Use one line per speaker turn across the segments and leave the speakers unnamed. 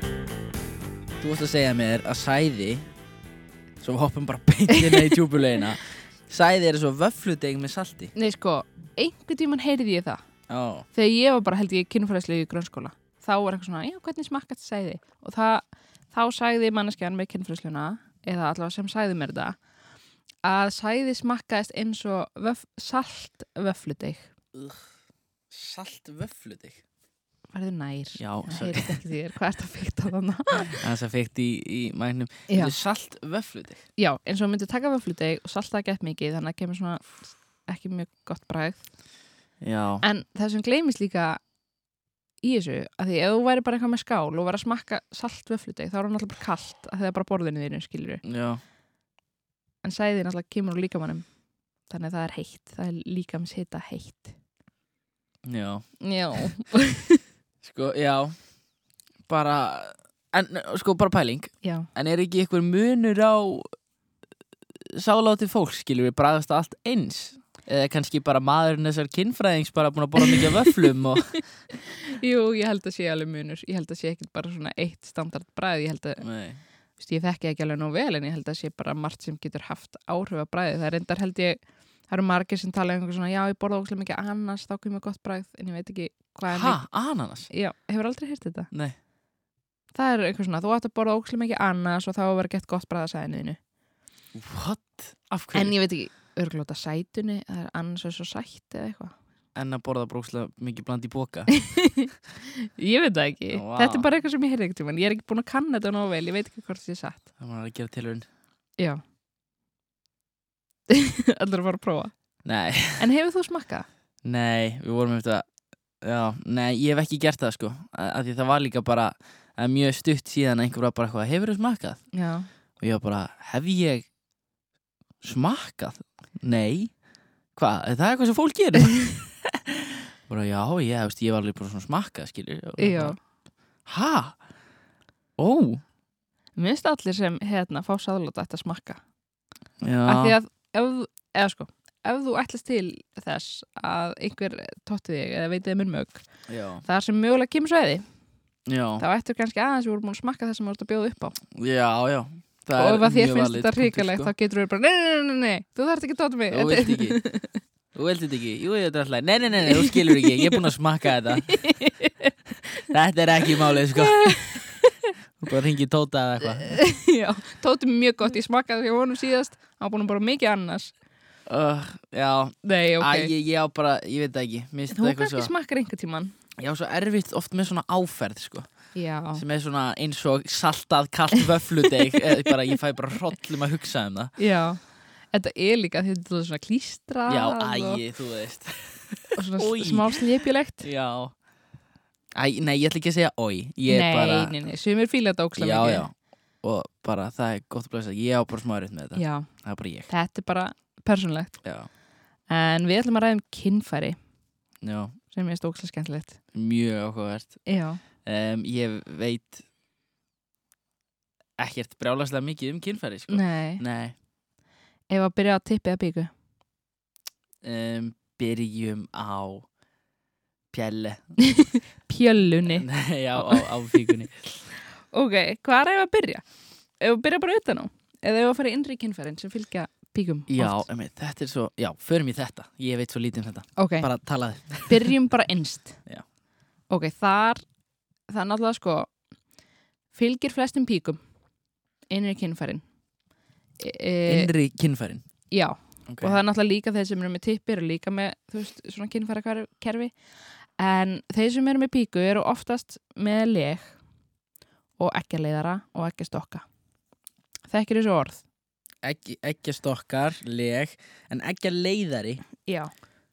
Þú vorst að segja mér að sæði Svo við hoppum bara beintina í tjúbulegina Sæði er svo vöfludeg með salti
Nei, sko, einhvern tíman heyrði ég það.
Já,
Þegar ég var bara, held ég, kynfræðislega í grunnskóla. Þá var eitthvað svona, já, hvernig smakkast sæði? Og það, þá sagði manneskjan með kynfræðsluna, eða allavega sem sagði mér þetta, að sæði smakkaðist eins og vöf, salt vöfludeg.
salt vöfludeg
Verður nær.
Já,
Það
sorry.
heyrist ekki þér, hvað ert að fyrta þannig?
það er það feikt í, í mænum
Já.
Þetta er salt vöfludeg
Já, eins og myndi taka vöfludeg og salta ekki eftir mikið, þannig að kemur svona ekki mjög gott bragð.
Já,
En það sem gleymist líka í þessu, að því ef þú væri bara eitthvað með skál og væri að smakka salt vöfludeg, þá er hann alltaf bara kalt að það er bara borðinu þínu, skilur
já,
En sæðin alltaf kemur úr líkamannum, þannig að það er heitt, það er líkams hita heitt.
já
Já.
Sko, já Bara, en sko bara pæling
Já,
En er ekki einhver munur á uh, sáláti fólk, skilur við, bragðast það allt eins? Eða kannski bara maðurinn þessar kinnfræðings bara búin að borða mikið af vöflum og...
jú, ég held að sé alveg munur, ég held að sé ekkert bara svona eitt standard bræð, ég held að,
Nei,
þú veist, ég þekki ekki alveg nóg vel, en ég held að sé bara margt sem getur haft áhrif að bræði. Það er endar held ég, það eru margir sem tala um einhver svona, já, ég borða óslega mikið annars, þá kemur gott bræð, en ég veit ekki hvað er
ha, ananas?
Já, hefur aldrei heyrt þetta?
Nei,
Það er eitthvað svona, þú átt að borða ókslega mikið annars og þá verður gett gott bræða sæðinuðinu.
what? Af hverju?
En ég veit ekki, örglóta sætunni, það er annars er svo sætt eða eitthvað.
en að borða brókslega mikið bland í boka
Ég veit það ekki.
Vá.
Þetta er bara eitthvað sem ég heyrði ekkert um, ég er ekki búin að kanna þetta nóg vel, ég veit ekki hvort þetta er satt.
það var að gera tilhörun
Já. Allir að fara að prófa.
nei,
En hefur þú smakkað?
nei, við vorum eftir að já, nei, ég hef ekki gert það sko að af því það var líka bara að mjög stutt síðan að einhver var bara eitthvað, hefur þú smakkað?
Já.
og ég var bara, hef ég smakkað? nei hvað, er það eitthvað sem fólk gerir? bara, já, ég, þú veist, ég var alveg bara svona smakkað, skilur Og ég
Já.
bara, ha? ó,
Minnst allir sem hérna fá sáðlóta þetta smakka. Af því
já
að ef, þú- eða sko, ef þú ætlast til þess að einhver tótti þig eða veitið minn mög,
já,
þar sem mögulega kemur sveiði,
já,
þá ættu kannski aðeins við vorum búin að smakka það sem þú ert að bjóða upp á
já, já Það er
og ef að þér
mjög
finnst
valid
þetta
punktur,
hrikalegt
sko.
þá getur við bara, nei, nei, nei, nei, nei, þú þarft ekki að tóta mig
Þú vilt
Þetta-
ekki Þú vilt þetta ekki, jú ég þetta er alltaf Nei, nei, nei, nei, þú skilur ekki, ég er búin að smakka þetta Þetta er ekki málið sko Þú bara ringi Tóta eða eitthvað
Já, tóti mig mjög gott, ég smakkaði því honum síðast hann var búin að bara mikið annars
uh, Já,
Nei,
okay.
ok,
ég, ég á bara, ég veit það ekki Mér finnst
þú
þetta eitthvað
kannski
svo
smakkar einhver tíman
Ég á svo erfitt oft með svona áferð sko
Já,
Sem er svona eins og saltað kalt vöfludeg eða bara, Ég fæ bara hrollum að hugsa um það
já Þetta er líka því þetta er svona klístrað
Já,
og,
ægi, þú veist
og svona
Oj.
Oi. smá slepjulegt
Já Æ, nei, ég ætla ekki að segja oi Ég er
Nei,
bara
nei, nei, sumir fíla þetta ókslega
já,
mikið
já. og bara það er gott að blæsa ég á bara smá erut með þetta,
já,
það er bara ég
þetta er bara persónlegt
já,
En við ætlum að ræða um kynfæri
já,
sem ég stókslega skemmtilegt
mjög áhugavert
Já,
um, ég veit ekkert brjálaslega mikið um kynfæri sko.
nei
nei
Ef að byrja að tippi að byggu
um, byrjum á pjelle
Pjölunni
nei, á, á, á fíkunni
Ok, hvað er ef að byrja? Ef að byrja bara utan á Eða ef að fara í innri kynfærin sem fylgja píkum
já,
oft?
emi, þetta er svo, já, förum í þetta ég veit svo lítið um þetta,
Ok,
bara talaði
byrjum bara innst
Já.
Ok, þar Það er náttúrulega sko Fylgir flestum píkum Innri kynfærin e, e,
innri kynfærin
Já,
okay.
og það er náttúrulega líka þeir sem eru með tippir og líka með, þú veist, svona kynfæra kerfi en þeir sem eru með píku eru oftast með leg og ekki leiðara og ekki stokka þekkir þessu orð
ekki, ekki stokkar, leg en ekki leiðari
já,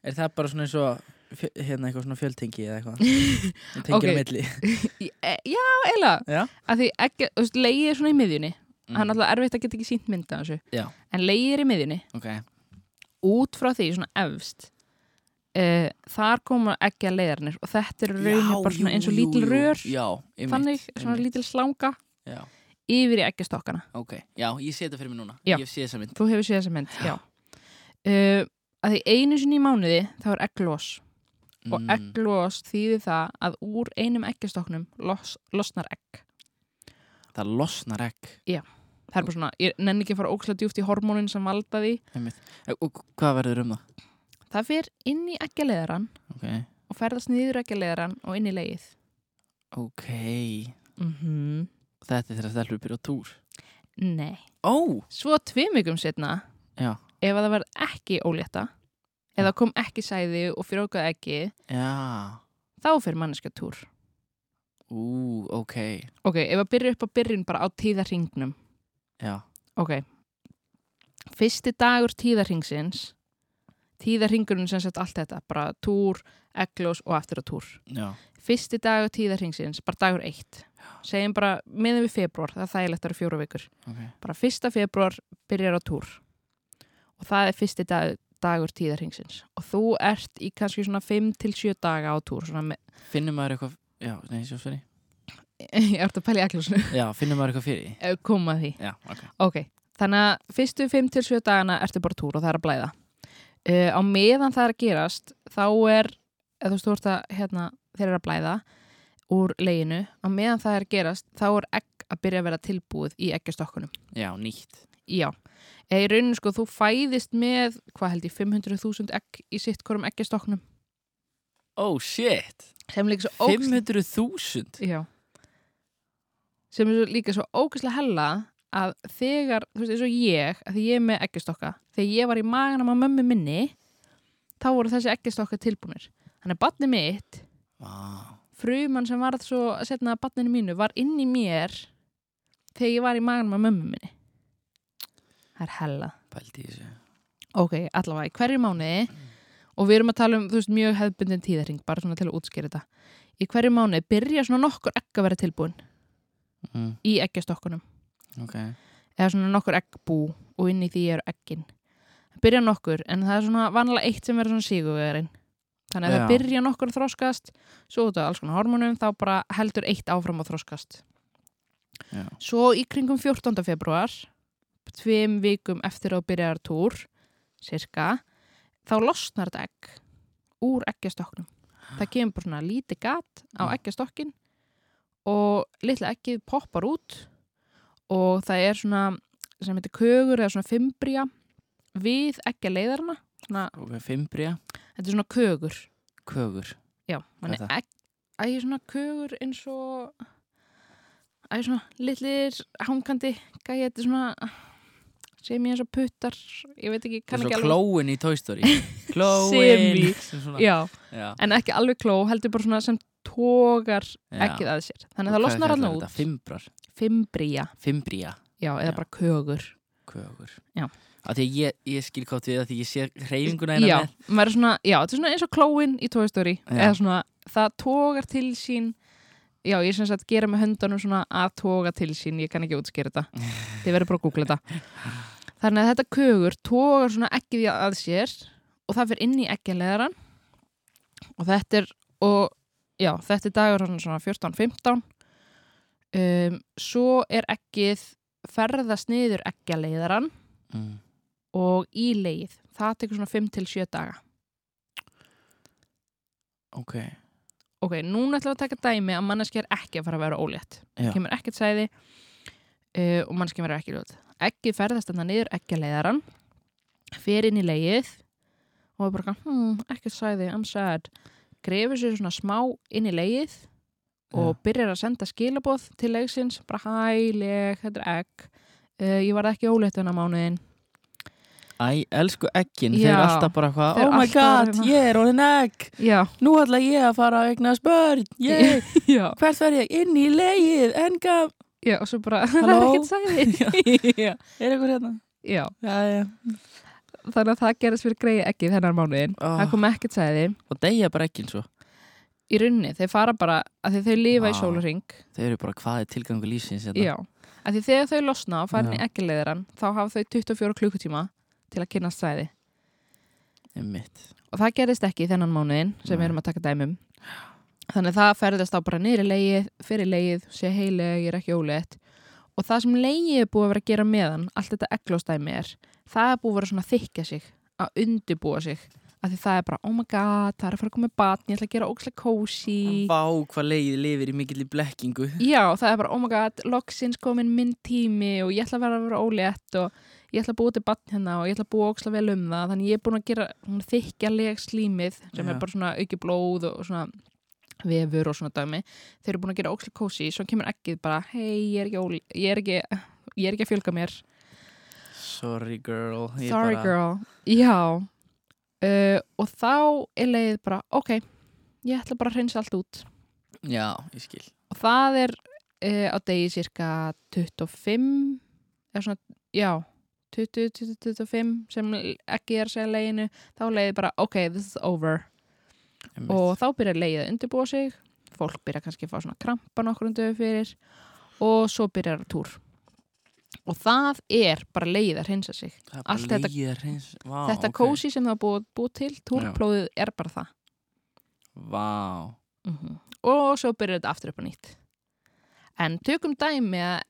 Er það bara svona eins og fjö- hérna eitthvað svona fjöltengi eða eitthvað? Tengir okay.
Ok.
á milli.
Í- e, já eila
Já.
að því ekki, þú veist, leið er svona í miðjunni það er náttúrulega erfitt að geta ekki sínt mynda þessu
Mm. Já.
en leið er í miðjunni,
Ok.
út frá því svona efst uh, þar koma ekki að leiðarnir og þetta er raunin bara svona eins og lítil rör
Já, einmitt.
þannig, svona
einmitt.
lítil slanga
Já,
yfir í ekki stokkana
ok. Já, ég sé þetta fyrir mig núna.
Já.
Ég sé þessa mynd.
Þú hefur séð þessa mynd, já. Uh, að því einu sinni í mánuði þá er egglós og
Mm.
egglós þýðir það að úr einum eggjastoknum los, losnar egg
Það losnar egg
það er bara svona, ég nenni ekki að fara ókslega djúft í hormónin sem valda því,
einmitt. Og hvað verður um það?
það fer inn í eggjaleðaran
Ok,
og ferðast niður eggjaleðaran og inn í leið
ok
mm -hmm.
Þetta er þegar stelpur byrja á túr
Nei,
Ó,
svo tveimugum setna
já,
ef að það var ekki ólétta eða kom ekki sæði og frjókaði ekki
já
þá fer manneskja túr
Ú, ok,
ok, ef að byrja upp á byrjun bara á tíðarhingnum
já
ok fyrsti dagur tíðarhingsins tíðarhingurinn sem sett allt þetta bara túr, eglos og aftur á túr
Já,
fyrsti dagur tíðarhingsins, bara dagur eitt segjum bara, miðum við februar það er þægilegt að eru fjóra vikur
ok,
bara fyrsta februar byrjar á túr og það er fyrsti dag, dagur tíðarhingsins og þú ert í kannski svona 5-7 daga á túr svona með,
finnum maður eitthvað Já, nei, svo fyrir
ég ert að pæla í eglosinu
Já, finnum maður eitthvað fyrir því?
Ef koma að því
Já, ok
ok, þannig að fyrstu 5-7 dagana ertu bara á túr og það er að blæða uh, á meðan það er að gerast þá er, eða þú veist þú ert að hérna, þeir eru að blæða úr leginu, á meðan það er að gerast þá er egg að byrja að vera tilbúið í eggjastokkunum
Já, nýtt
Já, eða í rauninu sko þú fæðist með, hvað held ég, 500.000 egg í sitt hvorum eggjastoknum
Ó, oh, shit
sem líka svo ógst
500.000
Já sem er svo líka svo ógæslega hella að þegar, þú veist, eins og ég að því ég er með eggjastokka, þegar ég var í maganum á mömmu minni þá voru þessi eggjastokka tilbúnir þannig að batni mitt,
Vá,
fruman sem varð svo setna að batninu mínu var inn í mér þegar ég var í maganum á mömmu minni Það er hella
pældi í þessu
Ok, allavega í hverju mánuði og við erum að tala um, þú veist, mjög hefðbundin tíðarhing bara svona til að útskýra þetta í hverju mánuði byrja svona nokkur egg að vera tilbúin
mm,
í eggjastokkunum
Ok,
eða svona nokkur eggbú og inn í því eru eggin byrja nokkur, en það er svona vanlega eitt sem verður svona síguverðin þannig að það
Já.
byrja nokkur að þroskast svo út af alls konar hormonum, þá bara heldur eitt áfram að þroskast
Já.
svo í kringum 14. februar tveim vikum eftir að þú byrjar túr cirka, þá losnar þetta egg úr eggjastoknum það kemur bara svona lítið gat á
Mm.
eggjastokkin og litla eggið poppar út og það er svona sem heitir kögur eða svona fimbria við eggjaleiðarna svona,
ok, fimbria
þetta er svona kögur
Kögur
já,
Hvað er
manni egg æg svona kögur eins og æg svona litlir hangandi gæði þetta er svona sem ég eins og puttar ég veit ekki, kann
Svo
ekki
klóin í Toy Story
Semi.
Klóin Sem svona-
já,
Já,
en ekki alveg kló, heldur bara svona sem tógar
já.
ekkið að sér
Og
þannig að það
hvað
losnar
kallar
alveg
þetta?
út
Fimbrar,
fimbria,
fimbria
já, eða
Já.
bara kögur
Kögur
Já.
Af Því að ég, ég skil kátt við að því ég sé hreyfinguna hérna eina
já,
með
maður er svona, já, þetta er svona eins og klóin í Toy Story
Já.
eða svona, það tógar til sín já, ég sem sagt gera með höndunum svona að tóga til sín, ég kann ekki útskýra þetta þið verður bara að googla þetta þannig að þetta kögur tógar svona ekkið í að sér og það fyrir inn í ekkjaleðaran og þetta er og, já, þetta er dagur svona- svona 14-15 um, svo er ekkið ferðast niður ekkjaleðaran
mm.
og í leið það tekur svona 5 til 7 daga
Ok,
ok, núna ætlum við að taka dæmi að manneskja er ekki að fara að vera ólétt
Já.
kemur ekkert sæði uh, og manneskja verður ekki ljótt ekki ferðast þarna niður, ekki að leiðaran fer inn í leið og er bara, eitthvað, hmm, ekki sæði, I'm sad grefur sér svona smá inn í leið og byrjar að senda skilaboð til leiksins, bara hæ, leik, þetta er egg uh, ég var ekki ólétt þennan mánuðin
Æ, elsku ekkin,
Já.
þeir eru alltaf bara hvað
Þeir
Oh my
alltaf
god,
eru hérna."
ég er orðin egg
já,
Nú ætla ég að fara að eignast börn Ég,
já,
hvert verð ég? Inn í leið, enga
já og svo bara, það er
Halló?
ekkert sæði
Er eitthvað hérna?
já
Já, já
þannig að það gerist fyrir greið ekki þennan mánuðin
Ah.
það kom ekkert sæði
Og deyja bara ekkin svo
í runni, þeir fara bara að því þau lifa í
Vá.
sólaring
Þau eru bara hvað er tilgangu lífsins hérna?
já, að því þegar þau losna og farin
Já.
í ekkilegðaran þá hafa þau 24 klukkutíma til að kynna sæði
Einmitt.
og það gerist ekki í þennan mánuðin sem
Nei.
við erum að taka dæmum þannig að það ferðast þá bara niður í leið fyrir leið, sé heileg, ég er ekki óleitt og það sem leið er búið að vera að gera meðan allt þetta ekklóstæmi er, það er búið að vera svona að þykja sig að undibúa sig af því það er bara, oh my god, það er að fara að koma með batn ég ætla að gera ókslega kósi
Vá, hvað leiðið lifir í mikill blekkingu
já, það er bara, oh my god, loksins komin minn tími og ég ætla að vera að vera ólétt og ég ætla að búa til batn hérna og ég ætla að búa ókslega vel um það þannig ég er búin að gera hún þykjaleg slímið sem
Já.
er bara svona auki blóð og svona vefur og svona dæmi þeir eru búin að gera ókslega kósi, svo kemur ekkið bara, hei, ég er ekki, óli- ég er ekki, ég er ekki að fjölga mér
Sorry girl ég
Sorry
bara,
girl, já uh, og þá er leiðið bara ok, ég ætla bara að hreinsa allt út
Já, ég skil
og það er uh, á degi cirka 25 eða svona, já 20-25 sem ekki er að segja leiðinu þá er leiðið bara ok, this is over
Einmitt.
og þá byrjar leiðið að undirbúa sig fólk byrjar kannski að fá svona krampa nokkur um döfu fyrir og svo byrjar að túr og það er bara leiðið að hreinsa sig
Það er
allt
bara
þetta-
leiðið hreins Vá, Ah,
þetta
ok.
okay. kósi sem það er búið, búið til túrplóðið er bara það
Vá Mhm.
og svo byrjar þetta aftur upp á nýtt en tökum dæmi að,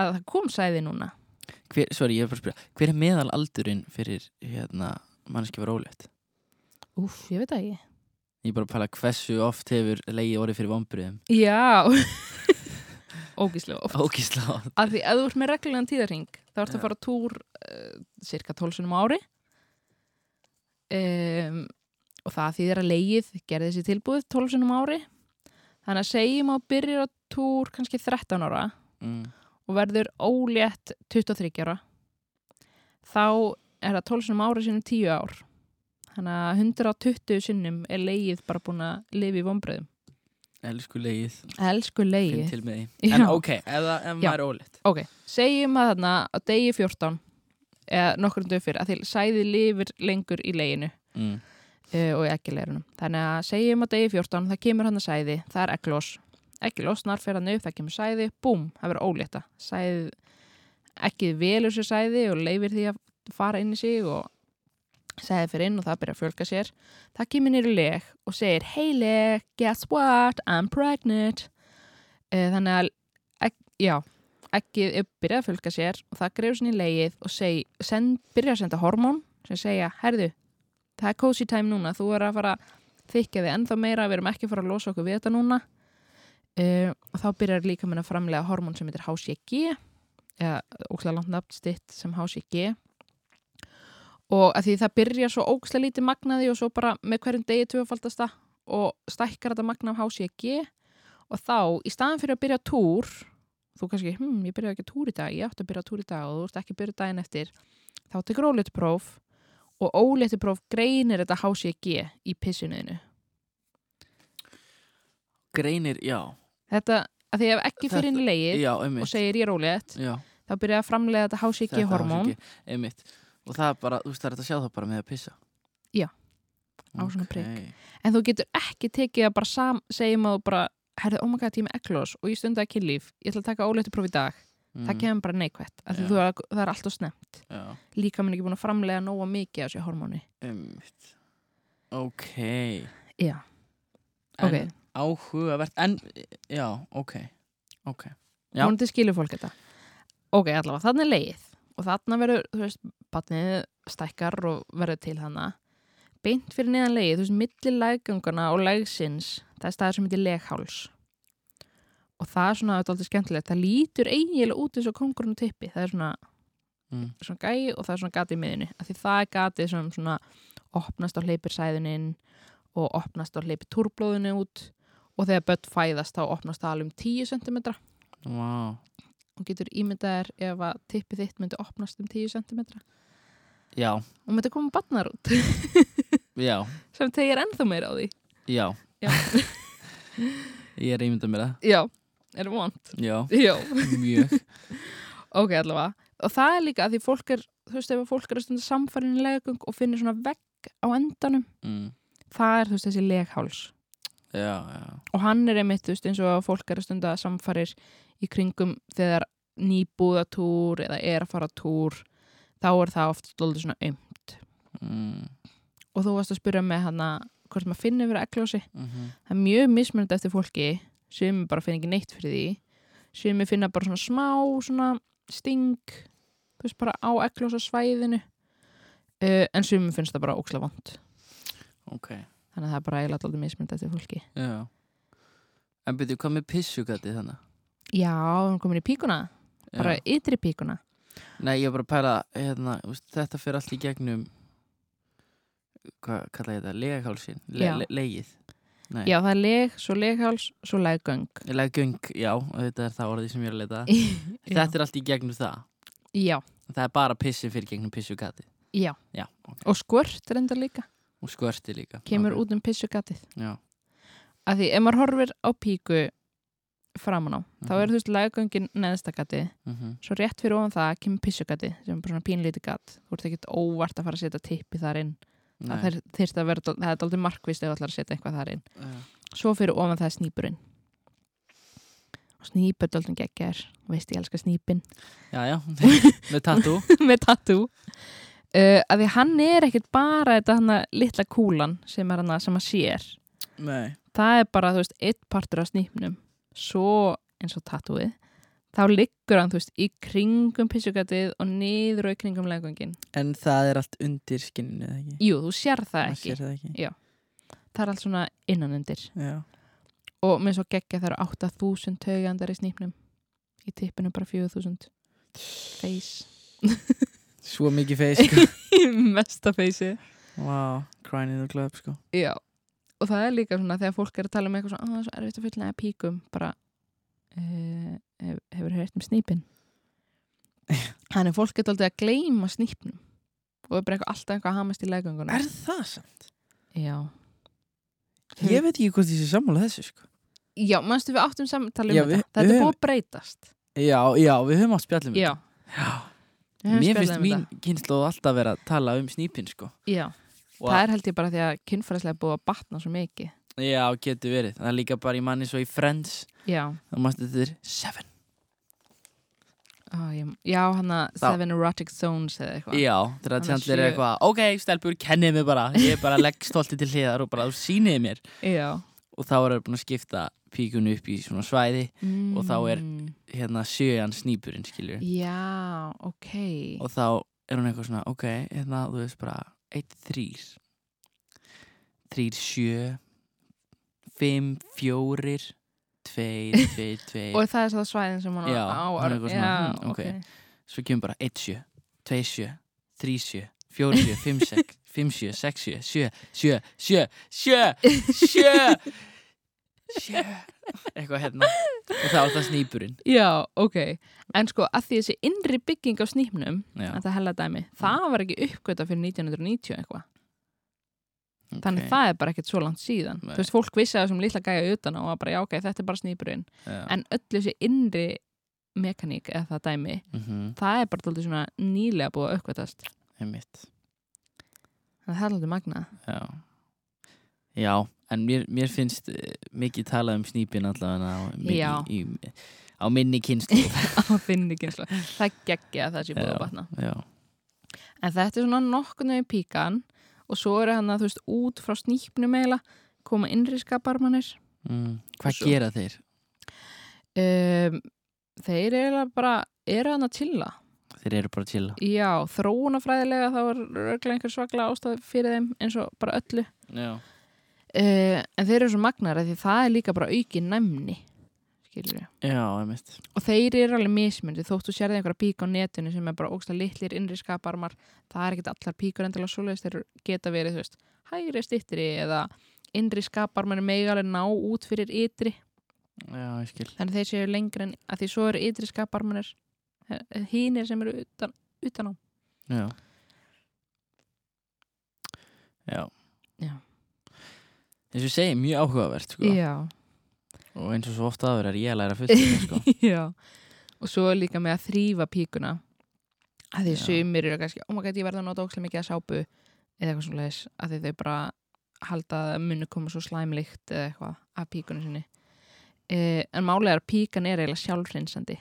að það kom sæði núna
hver, Sorry, ég er bara að spyrja Hver er meðalaldurinn fyrir hérna mannski var ólétt?
Úf, ég veit það ekki
Ég er bara að pæla hversu oft hefur leiðið orðið fyrir vombriðum
Já Ógíslega oft
Ógísla oft
Af því að þú ert með reglulegan tíðarhing þá ertu
Já.
að fara á túr uh, cirka 12 sinum ári um, og það þýðir að leið gerði þessi tilbúið 12 sinum ári þannig að segjum að þú byrjar á túr kannski 13 ára
mm.
og verður ólétt 23 ára þá er það 12 sinnum ára sinnum 10 ár þannig að 120 sinnum er leið bara búin að lifa í vombriðum
Elsku leiðið
Elsku
Finn
leið
til með því
Já.
En ok, ef, það- ef
Já.
maður er ólétt
Ok, segjum að þarna á degi 14 eða nokkur dög fyrir að því sæði lifir lengur í leginu
mm.
uh, og í ekkileirunum þannig að segjum á degi 14 það kemur hann að sæði, það er ekkilós ekkilós, snar fyrir hann upp, það kemur sæði búm, það verður ólétta sæði, ekkið velur sér sæði og leifir því að fara inn í sig og sæði fyrir inn og það byrja að fjölga sér það kemur niður í leg og segir hey leg, guess what, I'm pregnant uh, þannig að ek, já, ekkið er byrjað að fjölga sér og það grefur sinni í legið og seg, send, byrja að senda hormón sem segja, herðu það er cozy time núna, þú er að fara að þykja þig ennþá meira, við erum ekki að fara að losa okkur við þetta núna uh, og þá byrjar líka að framlega hormón sem heitir HCG eða ókslega langt nafn stitt sem HCG og að því það byrja svo ókslega lítið magnaði og svo bara með hverjum degi tvöfaldast það og stækkar þetta magna af HCG og þá í staðan fyrir að byrja á túr þú kannski, hm, ég byrjaði ekki á túr í dag ég átti að byrja á túr í dag og þú ert ekki að byrja daginn eftir þá tekur óleitpróf og óléttupróf greinir þetta HCG í pissunuðinu.
Greinir, já
Þetta, að því ef ekki fyrir inn í leið
Já,
og
einmitt
segir ég er ólétt,
Já,
þá byrja að framlega þetta
þetta
HCG-hormón
HCG, Einmitt Og það er bara, þú veist, það er þetta að sjá það bara með að pissa
Já. Á svona prik. en þú getur ekki tekið að bara sam, segjum að þú bara, herðu, oh my god, ég er með eklos og ég stundi að kynlíf, ég ætla að taka óléttupróf í dag. Það kemur bara neikvætt, af því
Já.
þú, það er alltaf snemt.
mm, Já,
Líka minn ekki búin að framlega nóga mikið af þessu hormóni.
einmitt Ok
Já,
En
ok.
Áhugavert, en, já, ok Ok Já.
vonandi skilur fólk þetta ok, allavega, þannig er leið og þarna verður, þú veist, batnið stækkar og verður til þarna beint fyrir neðan leið, þú veist, milli læggönguna og lægsins það er staður sem heitir legháls og það er svona, þetta er aldrei skemmtilegt það lítur eiginlega út eins og kongurinn á tippi það er svona,
Mm.
svona gæi og það er svona gatið í miðinu, af því það er gatið sem svona opnast og hleypir sæðuninn og opnast og hleypir túrblóðinu út og þegar börn fæðast þá opnast það alveg um 10 cm
Vá
og getur ímyndaðir ef að tippið þitt myndi opnast um 10 cm og
Já,
myndi koma batnar út
já,
sem tegir ennþá meira á því
já
Já.
Ég er ímyndað mér það
já, er vond
Já,
já,
mjög
ok allavega og það er líka að því fólk er þú veist ef að fólk er að stunda samfærin í leggung og finnir svona vegg á endanum
mm.
það er þú veist þessi legháls
Já, já
og hann er einmitt þú veist eins og að fólk er að stunda samfærir í kringum þegar nýbúðatúr eða er að fara á túr þá er það oft stóldið svona um
mm.
og þú varst að spyrja með hana hvort maður finnir verið egljósi
Mm
það er mjög mismunandi eftir fólki sem bara finna ekki neitt fyrir því sem finna bara svona smá svona sting þú veist bara á eklos á svæðinu uh, en sumum finnst það bara ókslega vond
ok
þannig að það er bara eiginlega alltaf mismynd eftir fólki
já. en byrju, hvað með pissugatti þannig
já, hann komin í píkuna, bara ytri píkuna
Nei, ég er bara að pæla hérna, þú veist, þetta fyrir allt í gegnum hvað kalla ég þetta, legahálsin le,
Já.
le, legið Nei.
já, það er leg, svo legháls, svo leggöng
legöng, já, þetta er það orðið sem ég er að leita
já.
þetta er allt í gegnum það
já,
það er bara pissi fyrir gegnum pissugati
já,
já, ok,
og skvört reyndar líka
og skvörti líka
kemur
Ok.
út um pissugatið
já,
að því ef maður horfir á píku framan á, þá
Mhm.
er þú veist leggöngin neðstagatið
mm -hmm.
svo rétt fyrir ofan það kemur pissugati sem er bara svona pínlítið gat þú ert ekkert óvart að fara að setja tippi þar inn að þeir, þeir að vera, það er dálítið markvist ef þú ætlar að setja eitthvað þar inn svo fyrir ofan það er snýpurinn og snýpur dálítið geggjær Þú veist ég elska snýpin
já, já, með tattoo
með tattoo uh, að því hann er ekkert bara þetta hann litla kúlan sem er hann sem að sér
Nei.
það er bara, þú veist, eitt partur af snýpnum svo eins og tattooið þá liggur hann, þú veist, í kringum pissugatið og niður og í kringum legungin.
en það er allt undir skinninu eða ekki?
Jú, þú sér það
Maður
ekki
sér það ekki.
það er allt svona innanundir
Já.
og mér svo geggja það eru 8000 taugandar í snýpnum í tippinu bara 4000 face
svo mikið feis sko.
mesta face
wow, crying in the club sko.
já og það er líka svona þegar fólk er að tala um eitthvað svona, að það er svo erfitt að fullnæða píkum bara uh, hef, hefur heyrt um snýpin þannig að fólk getur aldrei að gleyma snýpnum og er bara eitthvað, alltaf eitthvað að hamast í legunguna
það samt?
já Hm.
Ég veit ekki hvort ég sé sammála þessu sko.
já, mannstu við áttum samtali um
Já,
þetta
við-
þetta
við
er búið
höfum-
að breytast
Já, já, við höfum átt spjallum
já, Við
Mér
höfum spjallað
finnst
um
mín
þetta.
kynnslóð alltaf vera að tala um snýpin sko.
já
Og
Það er held ég bara því að kynfæðislega búið að batna svo mikið.
að- Já, getur verið Það er líka bara í manni svo í Friends
Já,
Það mástu þetta er Seven
Ó, ég, já hann að
Þá-
Seven Erotic Zones eða eitthvað.
Já, þegar
Hann er
Chandler er
sjö.
eitthvað Ok, stelpur, kennið mér bara Ég er bara legg stolti til hliðar og bara þú sýnið mér
Já.
Og þá er það búin að skipta píkunni upp í svona svæði
Mm.
Og þá er- Hérna sjöjan snýpurinn skilur
Já, ok.
og þá er hún eitthvað svona ok, hérna, þú veist bara 1, 3 3, 7 5, 4 2, 2, 2
Og það er svo það svæðin sem hann
Já,
á
hann er eitthvað svona,
Já,
hmm, ok. svo kemur bara 1, 7 2, 7, 3, 7 4, 7, 5, 6 5, 7, 6, 7, 7, 7, 7, 7, 7, 7, eitthvað hérna. Og þá er það snýpurinn.
Já, ok. En sko að því þessi innri bygging á snýpnum,
Já,
þetta hella dæmi, það var ekki uppgöta fyrir 1990 eitthvað. Þannig
ok.
það er bara ekkert svo langt síðan.
Nei.
Þú veist, fólk vissi að þessum lilla gæja utan á og var bara, já, ok, þetta er bara snýpurinn.
Já.
En öllu þessi innri mekaník eða það dæmi,
Mhm,
það er bara dálítið svona nýlega búið að uppgötast
einmitt.
þannig að það er dálítið magna
Já, já en mér, mér finnst eh, mikið talað um snýpin allavega á, minni,
Já.
í, á minni kynslu.
að finna ekki eins og það geggja að það sé búið
Já.
að batna
já,
en þetta er svona nokkurnu í píkan og svo eru hann að þú veist út frá snýpnum eiginlega koma innri skaparmanir
mm, hvað
Svo-
gera þeir?
um, þeir eru eiginlega bara eru hann að chilla
Þeir eru bara að chilla.
já, þróunafræðilega þá er örglega einhver svaklega ástæð fyrir þeim eins og bara öllu
Já.
uh, en þeir eru svo magnar af því það er líka bara aukin næmni skilur við
Já, einmitt.
og þeir eru alveg mismundi þóttu sérði einhverja pík á netinu sem er bara ógsta litlir innri skaparmar það er ekkert allar píkur endilega svoleiðist þeir geta verið, þú veist, hægri stittri eða innri skaparmar mega alveg ná út fyrir ytri
Já, ég skil.
þannig þeir séu lengri en að því svo eru ytri skaparmanir hínir sem eru utan, utan á
Já. Já.
Já.
Eins og ég segi, mjög áhugavert, sko.
Já,
Og eins og svo ofta aður er ég að læra fyrst, þetta, sko.
já og svo er líka með að þrýfa píkuna að því
Já.
sumir eru kannski, oh my god, ég verða að nota ógstlega mikið að sápu eða eitthvað svona leis, að því þau bara halda að munni koma svo slæmlíkt eða eitthvað af píkunni sinni eh, en málega er að píkan er eiginlega sjálfrinsandi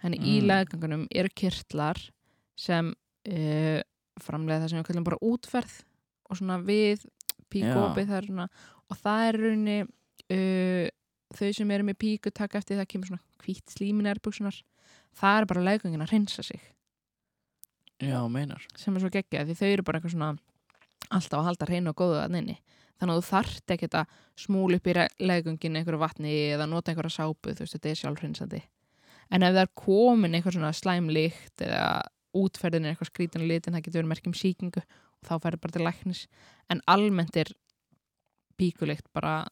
þannig í
Mm.
legangunum eru kyrtlar sem eh, framlega það sem við kallum bara útferð og svona við píkópið það er svona, og það er í rauninni uh, þau sem eru með píku taka eftir það kemur svona hvítt slímin erbuksunar það er bara legungin að hreinsa sig
Já, meinar.
sem er svo geggjað því þau eru bara eitthvað svona alltaf að halda hreinu og góðu að nynni þannig að þú þarft ekkert að smúla upp í legungin einhverju vatni eða nota einhverja sápu þú veist, þetta er sjálfhrinsandi en ef það er komin einhver svona slæmlíkt eða útferðin er eitthvað skrítin og litin það getur verið merkjum síkingu og þá færðu bara til læknis en almennt er píkulíkt bara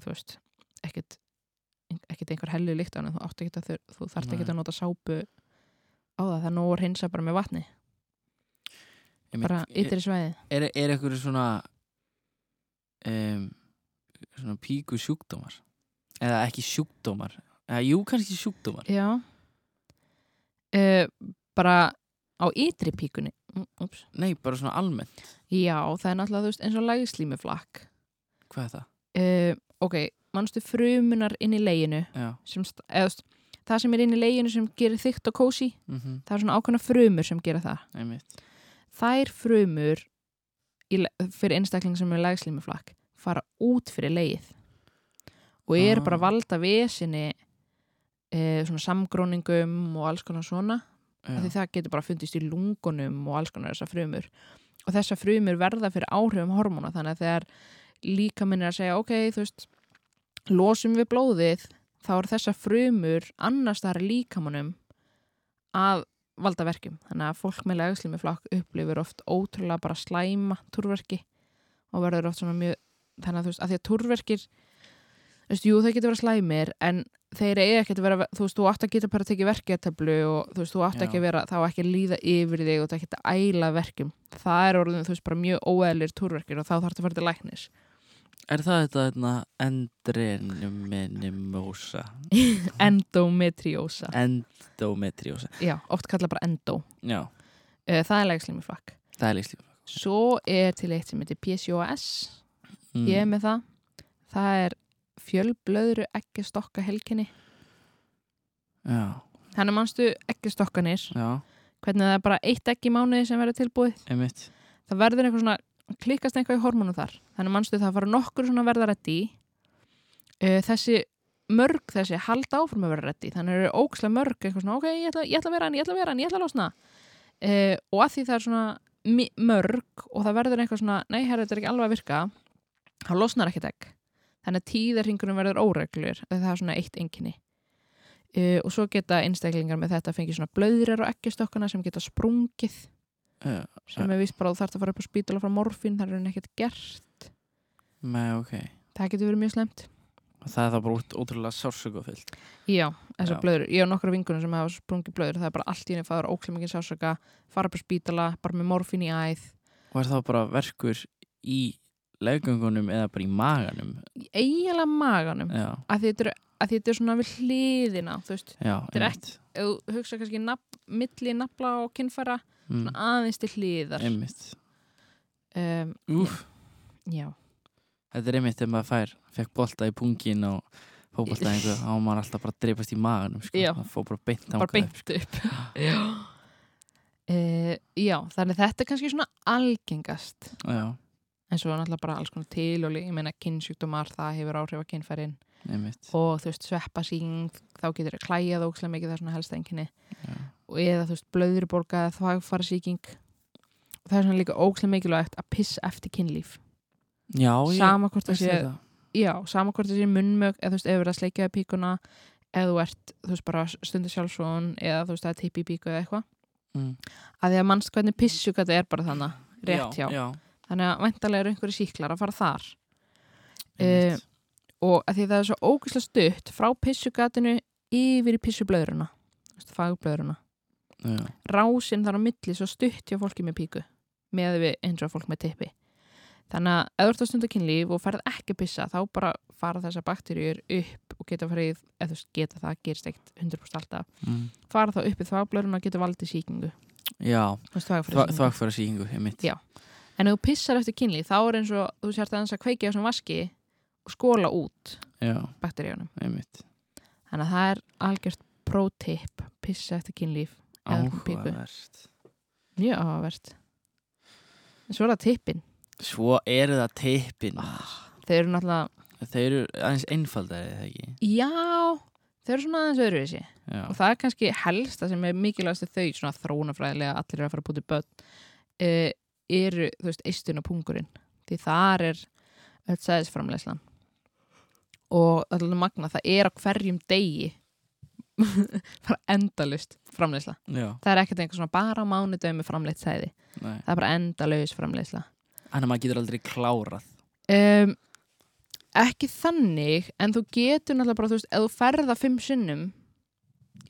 þú veist, ekkert ekkert einhver hellu líkt á hann þú, átt ekkert að þur- þú þarft ekkert
Nei.
að nota sápu á það, það er nóg að hreinsa bara með vatni
Ég
bara
er,
ytri svæði
er, er eitthvað svona um, svona píku sjúkdómar eða ekki sjúkdómar eða, jú, kannski sjúkdómar
já uh, bara á ytri píkunni Mm, úps.
Nei, bara svona almennt,
já, það er náttúrulega þú veist, eins og lægislímuflakk
hvað er það?
uh, ok, mannstu frumunar inn í leginu
Já,
sem, st- eða, þú veist, það sem er inn í leginu sem gerir þygt og kósi
mhm, mm
það er svona ákveðna frumur sem gera það
einmitt
þær frumur í, le- fyrir einstakling sem er lægslímuflakk fara út fyrir leið og eru
Ah.
bara að valda vesinni e, svona samgróningum og alls konar svona af því
Já,
það getur bara fundist í lungunum og alls konar þessar frumur og þessar frumur verða fyrir áhrifum hormóna þannig að þegar líka minn er að segja ok, þú veist, losum við blóðið þá er þessar frumur annars þar líkamanum að valda verkjum þannig að fólk með legaslimi flakk upplifir oft ótrúlega bara slæma túrverki og verður oft svona mjög þannig að þú veist, að því að túrverkir þú veist, jú, þeir getur verið slæmir en þeir eiga ekki að vera, þú veist, þú átt að geta bara að tekið verkjartöflu og þú veist, þú átt
Já.
ekki að vera þá ekki að líða yfir þig og þú átt ekki að æla verkjum það er orðin, þú veist, bara mjög óeðlir túrverkir og þá þarf að fara til læknis
er það þetta hérna, þarna endrenimimosa
endometriósa,
endometriósa
já, oft kallað bara endo
Já,
Eh, það er legaslimi flakk
það er líkslíf
svo er til eitt sem heitir PCOS
mm.
ég er með það það er fjölblöðru ekki stokka helginni
Já,
þannig mannstu ekki stokkanir
já,
hvernig það er bara eitt ekki mánuði sem verður tilbúið
einmitt
það verður eitthvað svona klikkast eitthvað í hormónu þar þannig mannstu það fara nokkur svona verða reddi þessi mörg þessi halda áfram að vera reddi þannig eru ókslega mörg eitthvað svona ok, ég ætla, ég ætla að vera hann, ég ætla að vera hann, ég ætla að losna uh, og að því það er svona mi- mörg og það verður eitthvað svona nei, herra, þetta er ekki alveg að virka þá losnar ekkert egg þannig að tíðarringunum verður óreglur það er svona eitt enginni uh, og svo geta einstaklingar með þetta fengið svona blöðrar og ekkistokkana sem geta sprungið
Já,
sem er vist bara að þú þarft að fara upp á spítala frá morfín, það er henni ekkert gert
með ok
það getur verið mjög slemt
Og það er það bara út- ótrúlega sársökufyllt
já, þessar
Já.
blöður, ég og nokkra vingunum sem hafa sprungið blöður, það er bara allt í henni fæður óklemingin sásöka, fara upp á spítala bara með morfín í æð,
Og er það bara verkur í leggöngunum eða bara í maganum
í eiginlega maganum,
Já,
að þetta er, að þetta er svona við hliðina, þú veist
já,
er
einmitt
ef þú hugsa kannski nafn, milli nafla og kinnfæra,
mm,
aðeins til hliðar
Einmitt
um,
Úf,
já,
þetta er einmitt þegar maður fær Fekk bolta í pungin og fótbolta einhver Þá var maður alltaf bara að dreipast í maganum sko.
Já.
Það fór bara beint þangað sko.
bara beint upp já Uh, já, þannig að þetta er kannski svona algengast
upp Já,
en svo er náttúrulega bara alls konar til og lí- ég meina kynnsjúkdómar, það hefur áhrif á kynfærin
einmitt
og þú veist sveppasýng þá getur það klæjað ókslega mikið það er svona helsta enginni
Já.
og eða þú veist blöðurborga eða þvagfarsýking og það er svona líka ókslega mikilvægt að pissa eftir kynlíf
Já, ég
sama hvort það
vissi
sé,
þetta.
já, sama hvort það sé munnmög eða þú veist ef þú er að sleikjaði píkuna eða þú ert, þú veist bara stundu sjálfsvon eða þú veist það er tippi í píku eða eitthvað
Mm.
að því að mannst hvernig pissjúkata er bara þannig rétt
Já,
hjá,
já,
þannig að væntalega eru einhverju síklar að fara þar Eh,
einmitt
og að því það er svo ógeðslega stutt frá pissugatinu yfir í pissublöðruna fagblöðruna
Já,
rásin þar á milli svo stutt hjá fólki með píku með við eins og fólk með tippi þannig að ef þú ert að stunda kynlíf og ferð ekki að pissa þá bara fara þessar bakterjur upp og geta farið, eða þú veist, geta það gerist ekkert 100% alltaf,
mm.
fara þá upp í þvagblöðruna og geta valdið síkingu
já
þú veist, þvagfrjósýkingu.
þvagfæra síkingu, einmitt
Já. en ef þú pissar eftir kynlíf þá er eins og þú sért aðeins að kveikja á svona vaski og skóla út
Já,
bakterjónum
einmitt
Þannig að það er algjört prótipp, pissa eftir kynlíf. Eða svona pípu.
Áhugavert
Mjög áhugavert. En svo er það tippin.
Svo eru það tippin maður.
Ah. Þeir eru náttúrulega,
Þeir eru aðeins einfaldari eða ekki
já, þeir þau eru svona aðeins öðruvísi
já,
og það er kannski helst það sem er mikilvægast þau svona þróunafræðilega allir eru að fara að búti börn uh, eru, þú veist, eistun og pungurinn því þar er öll sæðisframleyslan og allir magna, það er á hverjum degi bara endalust framleysla,
já,
það er ekkert einhver svona bara á mánudömi framleitt sæði,
nei
það er bara endalust framleysla
Þannig að maður getur aldrei klárað
um, ekki þannig en þú getur náttúrulega bara þú veist, ef þú ferða fimm sinnum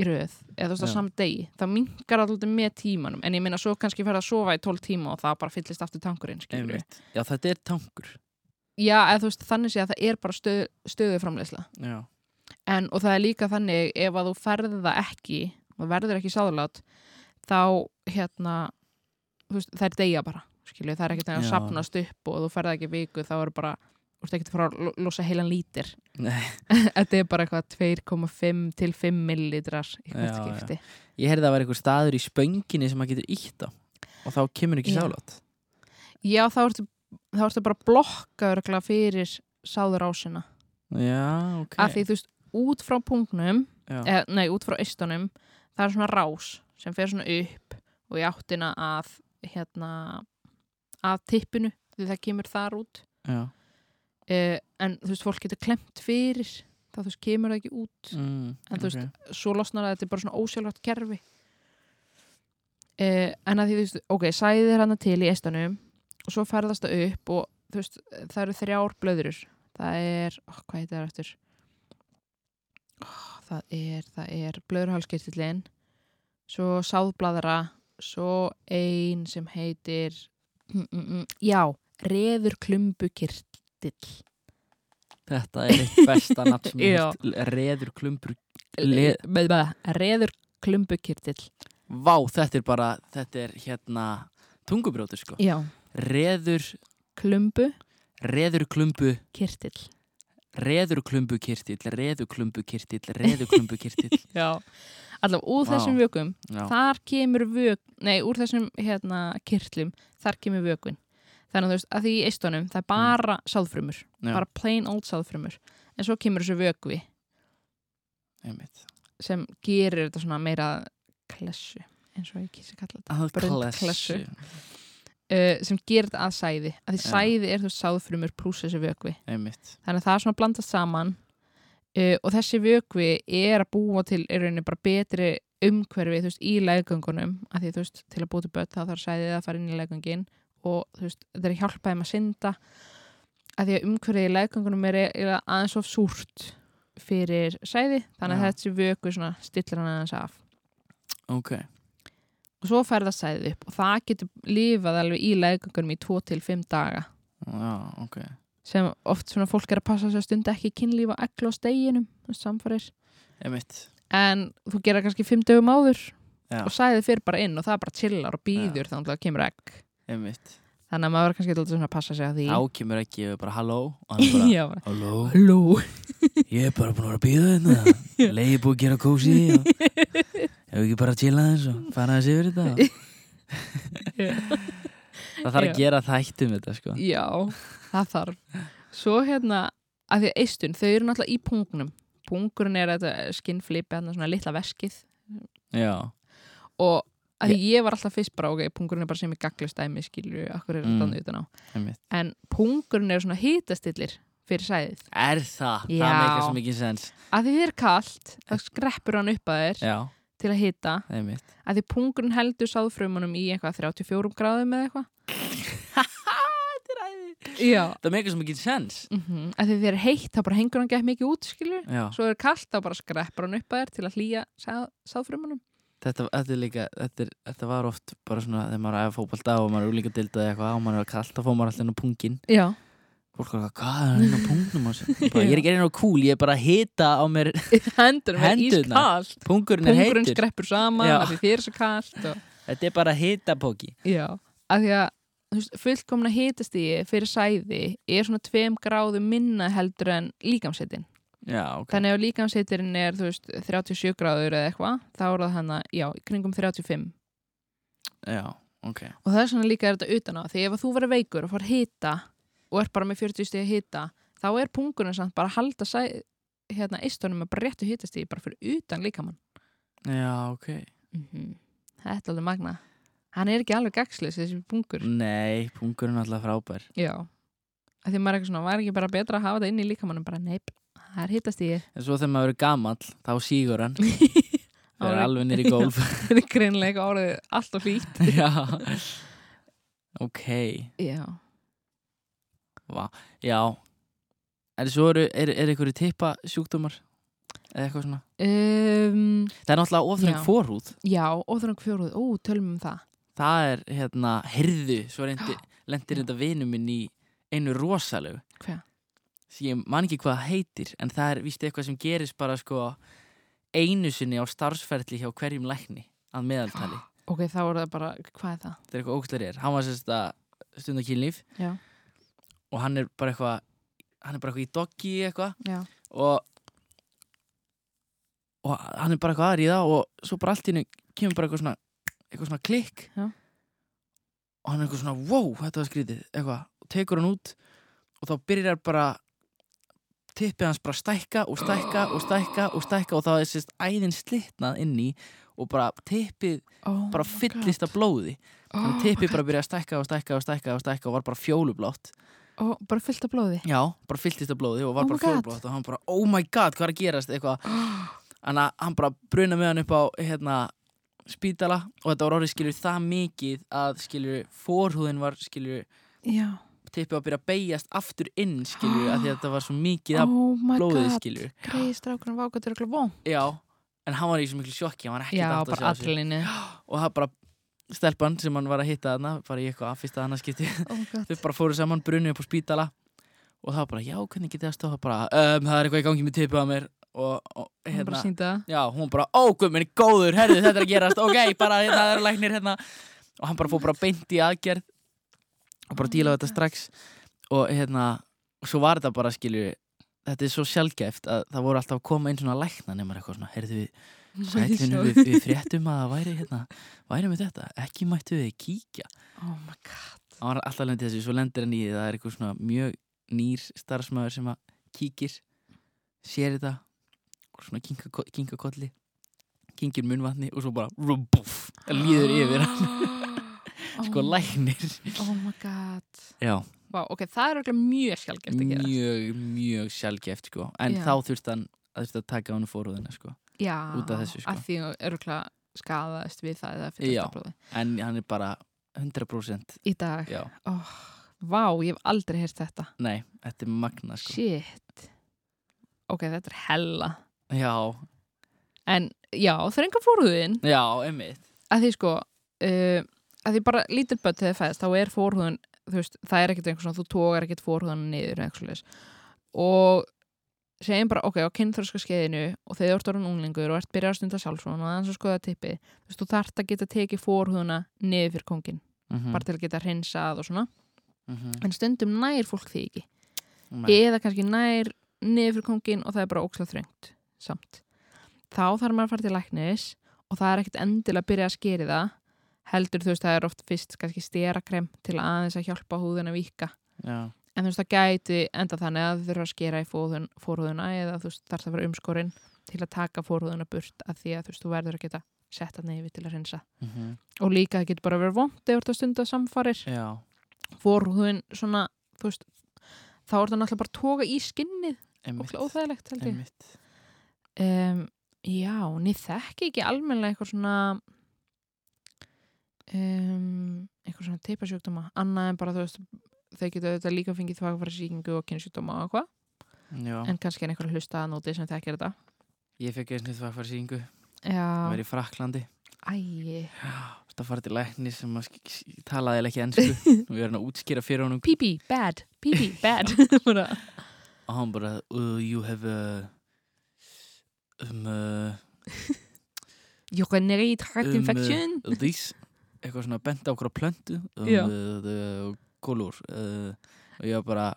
í röð, eða þú veist
Já.
að samt degi þá mingar alltaf með tímanum en ég meina svo kannski ferða að sofa í 12 tíma og það bara fyllist aftur tankurinn skilur við.
Einmitt. Já, þetta er tankur
já, eða þú veist, þannig sé að það er bara stöð, stöðu framleysla
Já,
en, og það er líka þannig ef að þú ferði það ekki og verður ekki sáðlát þá hérna þú veist, það er deyja bara skilur, við, það er ekkert að
Já.
sapnast upp og þú ferði ekki viku þá er bara, þú veist ekki að fara að lo- losa heilan lítir
nei
Þetta er bara eitthvað 2,5 til 5 millilitrar í hvert
Já, já.
skipti.
Ég heyrði að það var einhver staður í spönginni sem maður getur ítt á og þá kemur ekki
Já.
sálátt
Já, þá ertu, þá ertu bara að blokka örgla fyrir sáður ásina.
Já, ok
Af því eh, þú veist, út frá punktnum,
Já,
eða, nei, út frá austunum, það er svona rás sem fer svona upp og í áttina að, hérna, að tippinu, því það kemur þar út.
já.
Uh, en þú veist, fólk getur klemt fyrir, þá þú veist, kemur það ekki út.
Mm,
En þú veist,
ok.
svo losnar það, þetta er bara svona ósjálfrætt kerfi eh, en að því þú veist, ok, sæðið er hana til í eistanum og svo ferðast það upp og þú veist, það eru þrjár blöðurur það er, ó, hvað heitir það eftir oh, það er það er blöðurhalskirtillin svo sáðbladra svo ein sem heitir mm, mm, mm, já, reður klumbukirtill
Þetta er eitt besta nafn sem ég
Já.
heilt Reður klumpur Le-
Le reður klumbukirtill
Vá, þetta er bara, þetta er hérna tungubrjótur sko
já,
Reður,
klumbu
reður klumpu
kirtill
reður klumbu kirtill, reður klumbu kirtill reður klumbu kirtill
Já, allavega úr
Vá.
þessum vökum
Já,
þar kemur vök, nei úr þessum hérna kirtlum, þar kemur vökun þannig að þú veist, að því í eistunum það er bara mm. sáðfrumur,
já,
bara plain old sáðfrumur en svo kemur þessu vökvi
einmitt
sem gerir þetta svona meira klessu, eins og ég kísi að kalla þetta
Að
Brundklessu.
klessu.
uh, sem gerir þetta að sæði, að því
Já.
sæði er þú veist sáðfrumur pluss þessu vökvi
Einmitt
þannig að það er svona blandast saman uh, og þessi vökvi er að búa til er rauninni bara betri umhverfi þú veist, í leggöngunum að því þú veist, til að búa til börn þá þarf sæðið að fara inn í leggöngin og þú veist, þetta er að hjálpa þeim að synda að því að umhverfið í leggöngunum er, er aðeins of súrt fyrir sæði þannig að
Já.
þessi vökvi svona stillir hann aðeins af
Ok,
og svo fer það sæðið upp og það getur lifað alveg í leggöngunum í 2-5 daga
já, ok
sem oft svona fólk er að passa sér stund ekki kynlífa eklu á steginum samfærir
Einmitt
en þú gera kannski fimm dögum áður
Já.
og sæðið fyrir bara inn og það bara chillar og býður þannig að kemur egg
Einmitt.
þannig að maður er kannski alltaf svona að passa sig að því
Ákemur ekki, ég er bara halló og hann er bara,
Já, bara,
halló,
Halló
ég er bara búin að vera að býða hérna leiði búið að gera kósi og hefur ekki bara að chilla aðeins og fara aðeins yfir þetta það þarf
Já.
að gera þættum þetta sko
Já, það þarf Svo hérna, að því að eistun þau eru náttúrulega í pungnum Pungurinn er þetta skinnflipi, þarna svona litla veskið
Já,
og að því ég var alltaf fyrst bara ok, pungurinn er bara sem í gaglustæmi skilju, akkur er
Mm.
þetta mm. utan á
einmitt
en pungurinn er svona hitastillir fyrir sæðið,
Er það?
Já.
Það meikar svo mikið sens
að því þið er kalt þá skreppur hann upp að þér
Já,
til að hita
einmitt
að því pungurinn heldur sáðfrumunum í eitthvað 34 gráðum eða eitthvað Já
Það meikar svo mikið sens
mm að því þér er heitt þá bara hengur hann gett mikið út skilju
Já,
svo er kallt þá bara skreppur hann upp að þér til að hlýja sáð, sáðfrumunum
þetta, þetta er líka þetta, er, þetta var oft bara svona þegar maður er að fótbolta og maður er úlíka dildaði eitthvað og maður er kallt að fá maður alltaf inn á pungin
Já,
Fólk er að hvað er hann inn á pungnum á sér?" Bara, Ég er ekki inn á kúl, ég er bara að hita á mér
hendurinn er
Hendurnar.
ískalt
Pungurinn er
Pungurinn
heitur
skreppur saman
Já.
að því þér er svo kallt og...
Þetta er bara hitapóki
Já, að því að þú veist, fullkomna hitastíði fyrir sæði er svona 2 gráðum minna heldur en líkamsetin
Já, ok
Þannig ef líkamsheitirinn er þú veist, 37 gráður eða eitthvað, þá er það hana, já, í kringum 35.
Já, ok
Og það er svona líka þetta utan á, því ef að þú verður veikur og fór hita og er bara með 40 stíð hita, þá er pungurinn samt bara að halda sæ, hérna eistunum er bara réttu hittast í bara fyrir utan líkamann
Já, ok.
mm Þetta er alveg magna Hann er ekki alveg gagslis þessi pungur
Nei, pungurinn er alltaf frábær.
Já Af Því maður er eitthvað svona, var ekki bara betra að hafa þetta inn í líkamannum bara neip, það er hittast í
En svo þegar maður er gamall, þá sígur hann. Það er
Ári-
alveg nýri gólf.
Það er greinlega orðið alltaf hlýtt
Já. Ok.
Já
Já. En svo eru, er, er einhverju tippa sjúkdómar? Eða eitthvað svona?
um,
Það er náttúrulega ofþröng
Já.
forhúð.
Já, óþrang fjóruð, ó, tölum um það
Það er, hérna, herðu. Svo reyndi, lendir þetta vinu minn í einu rosalegu.
Hvað?
Því ég man ekki hvað það heitir. En það er víst eitthvað sem gerist bara sko einu sinni á starfsferðli hjá hverjum lækni að meðaltali.
Ok, þá er það bara, hvað er það?
þetta er eitthvað ógæslega reyðir hann var sérst að stunda kynlíf
Já,
og hann er bara eitthvað hann er bara eitthvað í doggi eitthvað
já,
og og hann er bara eitthvað aðri í það og svo bara allt í hennu kemur bara eitthvað svona eitthvað svona klikk
Já.
og hann er eitthvað svona wow þetta var skrítið eitthvað og tekur hann út og þá byrjar bara tippið hans bara að stækka og stækka og stækka og stækka og þá er sérst æðin slitnað inn í og bara tippið
oh
bara fyllist af blóði Þannig að tippið bara byrjaði að stækka og stækka og stækka og stækka og var bara fjólublátt.
oh, Bara fullt af blóði
Já, bara fylltist af blóði og var
Oh my
bara
God.
fjólublátt og hann bara, oh my god, hvað er að gerast eitthvað. Þannig að hann bara bruna með hann upp á hérna, spítala og þetta var orðið skilur það mikið að skilur forhúðin var skilur
Já,
tippið að byrja að beigjast aftur inn skilur að því að þetta var svo mikið af
oh my
blóðið
god
skilur.
Greið strákurinn vágatur okkur vón
Já, en hann var í svo miklu sjokki, hann var ekki
Já,
að
bara
átta sig á þessu.
allinni
Og það bara stelpan sem hann var að hitta þarna, bara í eitthvað að fyrsta annarskipti
oh
þau bara fóru saman brunni upp á spítala og það var bara, já, hvernig getið það stóð bara, um, það er eitthvað í gangi með tipið á mér og, og
Hún bara
hérna,
sýndi það
já, hún bara ó, guð minn, góður, herðu, þetta er að gerast ok, bara, hérna, það eru læknir, hérna og hann bara fór bara beint í aðgerð og bara
Oh
díla
my
þetta strax og hérna, og svo var þetta bara, skilju þetta er svo sjálfgæft að það voru alltaf að koma inn svona lækna nema eitthvað svona, heyrðu við sætlunum við, við fréttum að það væri hérna, væri með þetta, ekki mættu við kíkja
Oh my god
hann var alltaf lendið þessu, svo lendir hann í því það er eitthvað svona mjög nýr starfsmæður sem að kíkir sér þetta og svona kinka, kinka kolli kinkir munvatni og svo bara rumbúf, líður yfir hann
hann
sko læknir
Oh my god
já,
Vá, ok, það er okkur mjög sjálfgeft að gera
mjög, mjög sjálfgeft sko. en
Já.
þá þurft hann að þurft að taka hann fórúðina sko.
Já,
út af þessu, sko.
að því örgulega skadaðist við það eða fyllast
Já.
af blóði
en hann er bara 100%
Í dag
já,
oh, Vá, ég hef aldrei heyrt þetta
nei, þetta er magna sko.
Shit Ok, þetta er hella
já,
En já, það er enga fórhúðin
já, emmitt
að því sko uh, að því bara lítil börn þegar það fæðist þá er fórhúðun, þú veist, það er ekkert einhver svona, þú tókar ekkert fórhúðun niður eða eitthvað svoleiðis. og segjum bara, ok, á kynþröska skeiðinu og þegar þú ert orðin unglingur og ert byrjað að stunda sjálfsvon og aðeins að skoða tippi þú veist, þú þarft að geta tekið fórhúðuna niður fyrir kongin,
mm
bara til að geta hreinsað og svona,
-hmm.
en stundum nær fólk því ekki,
Nei,
eða kannski nær niður fyrir kongin og það er bara ókslega þröngt samt. Þá þarf maður að fara til læknis og það er ekkert endilega að byrja að skeri það heldur þú veist það er oft fyrst kannski sterakrem til aðeins að hjálpa húðun að vika
já,
en þú veist það gæti enda þannig að þú þurfa að skera í fóðun, fórhúðuna eða þú veist þarf það að vera umskorinn til að taka fórhúðuna burt af því að þú veist þú verður að geta sett hann yfir til að hreinsa
mhm,
og líka það getur bara að vera vond eða þú ert að stunda samfarir
já
fórhúðun svona þú veist þá er það náttúrulega bara að toga í skinnið
einmitt,
og óþægilegt held ég
einmitt
um, Já, en ég þekki ekki almennilega eitthvað svona um, eitthvað svona teipasjúkdóma annað en bara þú veist þau geta auðvitað líka fengið þvagfæra sýkingu og kynnsjúkdóma og eitthvað,
Já,
en kannski er einhver hlusta að nóti sem þekkir þetta
ég fekk eins og það fara síðingu, það
Já,
var í Fraklandi
æi,
Það fara til lækni sem að sk- sk- talaði eiginlega ekki ennsku og við erum að útskýra fyrir honum
pípi, bad pípi, bad Bara,
og hann bara, uh, you have uh, um, uh,
You generate heart
Um,
infection
this eitthvað svona benda okkur á plöntu um,
Já.
uh, the color uh, og ég var bara,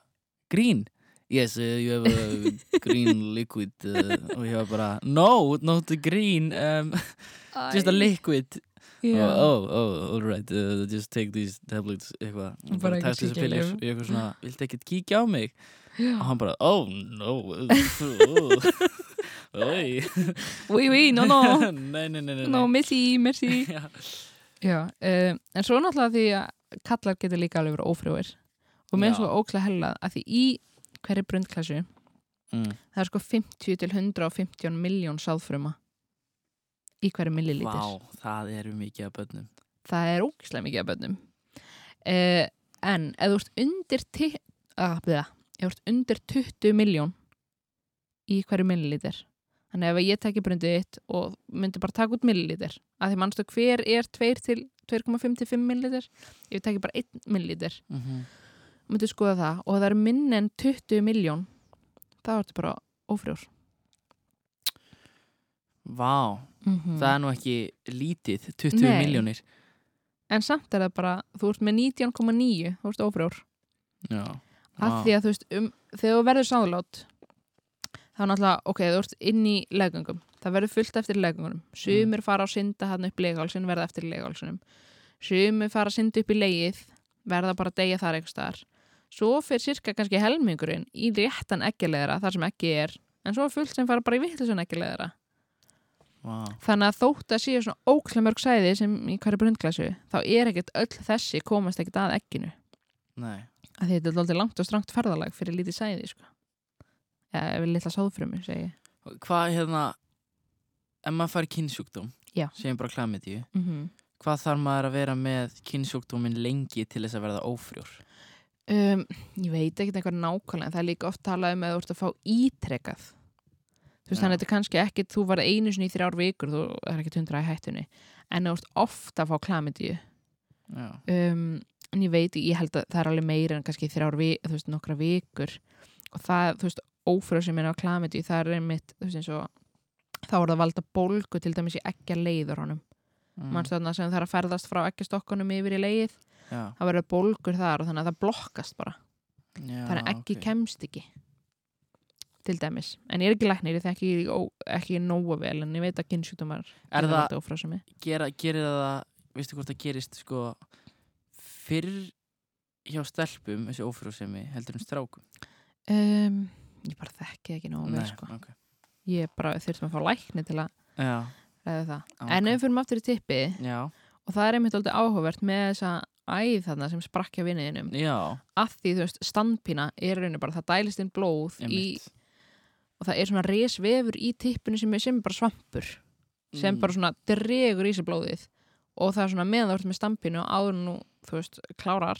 green yes, uh, you have a green liquid uh, og ég var bara, no, not green um, just a
Æ.
liquid yeah. oh, oh, all right, uh, just take these tablets eitthvað,
Og bara eitthvað
tæst þessi
kíkja í Mm.
pillir
lyfin.
eitthvað svona, viltu ekkert kíkja á mig
Já.
og hann bara, oh no oh, oi
oui, oui, no, no,
nei, nei, nei, nei,
no, merci, merci
Já.
Já, um, en svo náttúrulega því að kallar getur líka alveg verið ófrjóir og mér er
Já.
svo ókslega hellað að því í hverri brundklassu
Mm.
það er sko 50 til 150 miljón sáðfruma í hverju millilítir
Vá, það eru mikið af börnum
það er ógislega mikið af bönnum uh, en ef þú ert undir ti- ah, bleða, ef þú ert undir 20 miljón í hverju millilítir þannig ef ég tekja brundið þitt og myndi bara taka út millilítir af því mannstu hver er 2 til 2,55 millilítir ef ég tekja bara 1 millilítir
mm
myndi skoða það og það er minn en 20 miljón þá ertu bara ófrjór
Vá,
mm
það er nú ekki lítið 20
Nei.
miljónir
en samt er það bara, þú ert með 19,9 þú ert ófrjór
Já,
að
Ah.
því að þú veist, um, þegar þú verður sáðlát þá náttúrulega, ok, þú ert inn í legungum, það verður fullt eftir legungunum sumir fara á synda hann upp legálsin verða eftir legálsinum sumir fara að synda upp í legið verða bara að deyja þar einhvers staðar svo fyrir sirka kannski helmingurinn í réttan ekkilegðara, þar sem ekki er en svo er fullt sem fara bara í vittlisun ekkilegðara
Vá,
þannig að þótt að séu svona ókla mörg sæði sem í hverju brundglasu, þá er ekkert öll þessi komast ekkert að ekkinu
nei
að því þetta er alltaf langt og strangt ferðalag fyrir lítið sæði sko. eða ef við litla sáðfrömmu segi ég.
Hvað hérna ef maður fær kynnsjúkdóm
Já.
segjum bara klamidíu
mm -hmm.
hvað þarf maður að vera með kynnsjúkdómin lengi til þess að verða ófrjór
um, ég veit ekkert eitthvað nákvæmlega en það er líka oft talað um að þú ert að fá ítrekað þú
Já.
veist þannig að þetta er kannski ekkit þú varð einu sinni í þrjár vikur þú er ekkit hundra í hættunni en þú ert oft að fá klamidíu
Já,
um, en ég veit, ég held að það er alveg meira en kannski þrjár, vi, þú veist, nokkra vikur og það, þú veist, ófrjóð sem er á klamiti, það er einmitt, þú veist, eins og þá er það að valda bólgu til dæmis í ekki leiður honum
mm.
mannstu þarna sem það er að ferðast frá ekki stokkunum yfir í leið,
já,
það verður bólgur þar og þannig að það blokkast bara,
já
þannig að ekki
ok.
kemst ekki til dæmis, en ég er ekki læknir ég þekki ekki, ekki nógu vel en ég veit að kynnsjúkdómar
Er
geta
það,
valdið ófrjósemi.
gera, gerir það veistu hvort það gerist sko fyrr hjá stelpum þessi ófrjósemi heldur um strákum
um, ég bara þekki ekki nógu vel sko.
ok
ég bara þurftum að fá lækni til að
Já,
ræða það.
á,
En
ok.
ef við fyrir aftur í tippið
Já,
og það er einmitt aldrei áhugavert með þessa æð þarna sem sprakkja vinniðinum
já, að,
að því þú veist standpína er rauninu bara það dælist inn blóð í, og það er svona resvefur í tippinu sem er, sem er bara svampur
Mm.
sem bara svona dregur í sig blóðið og það er svona meðan þú ert með standpínu og áður en þú, þú veist klárar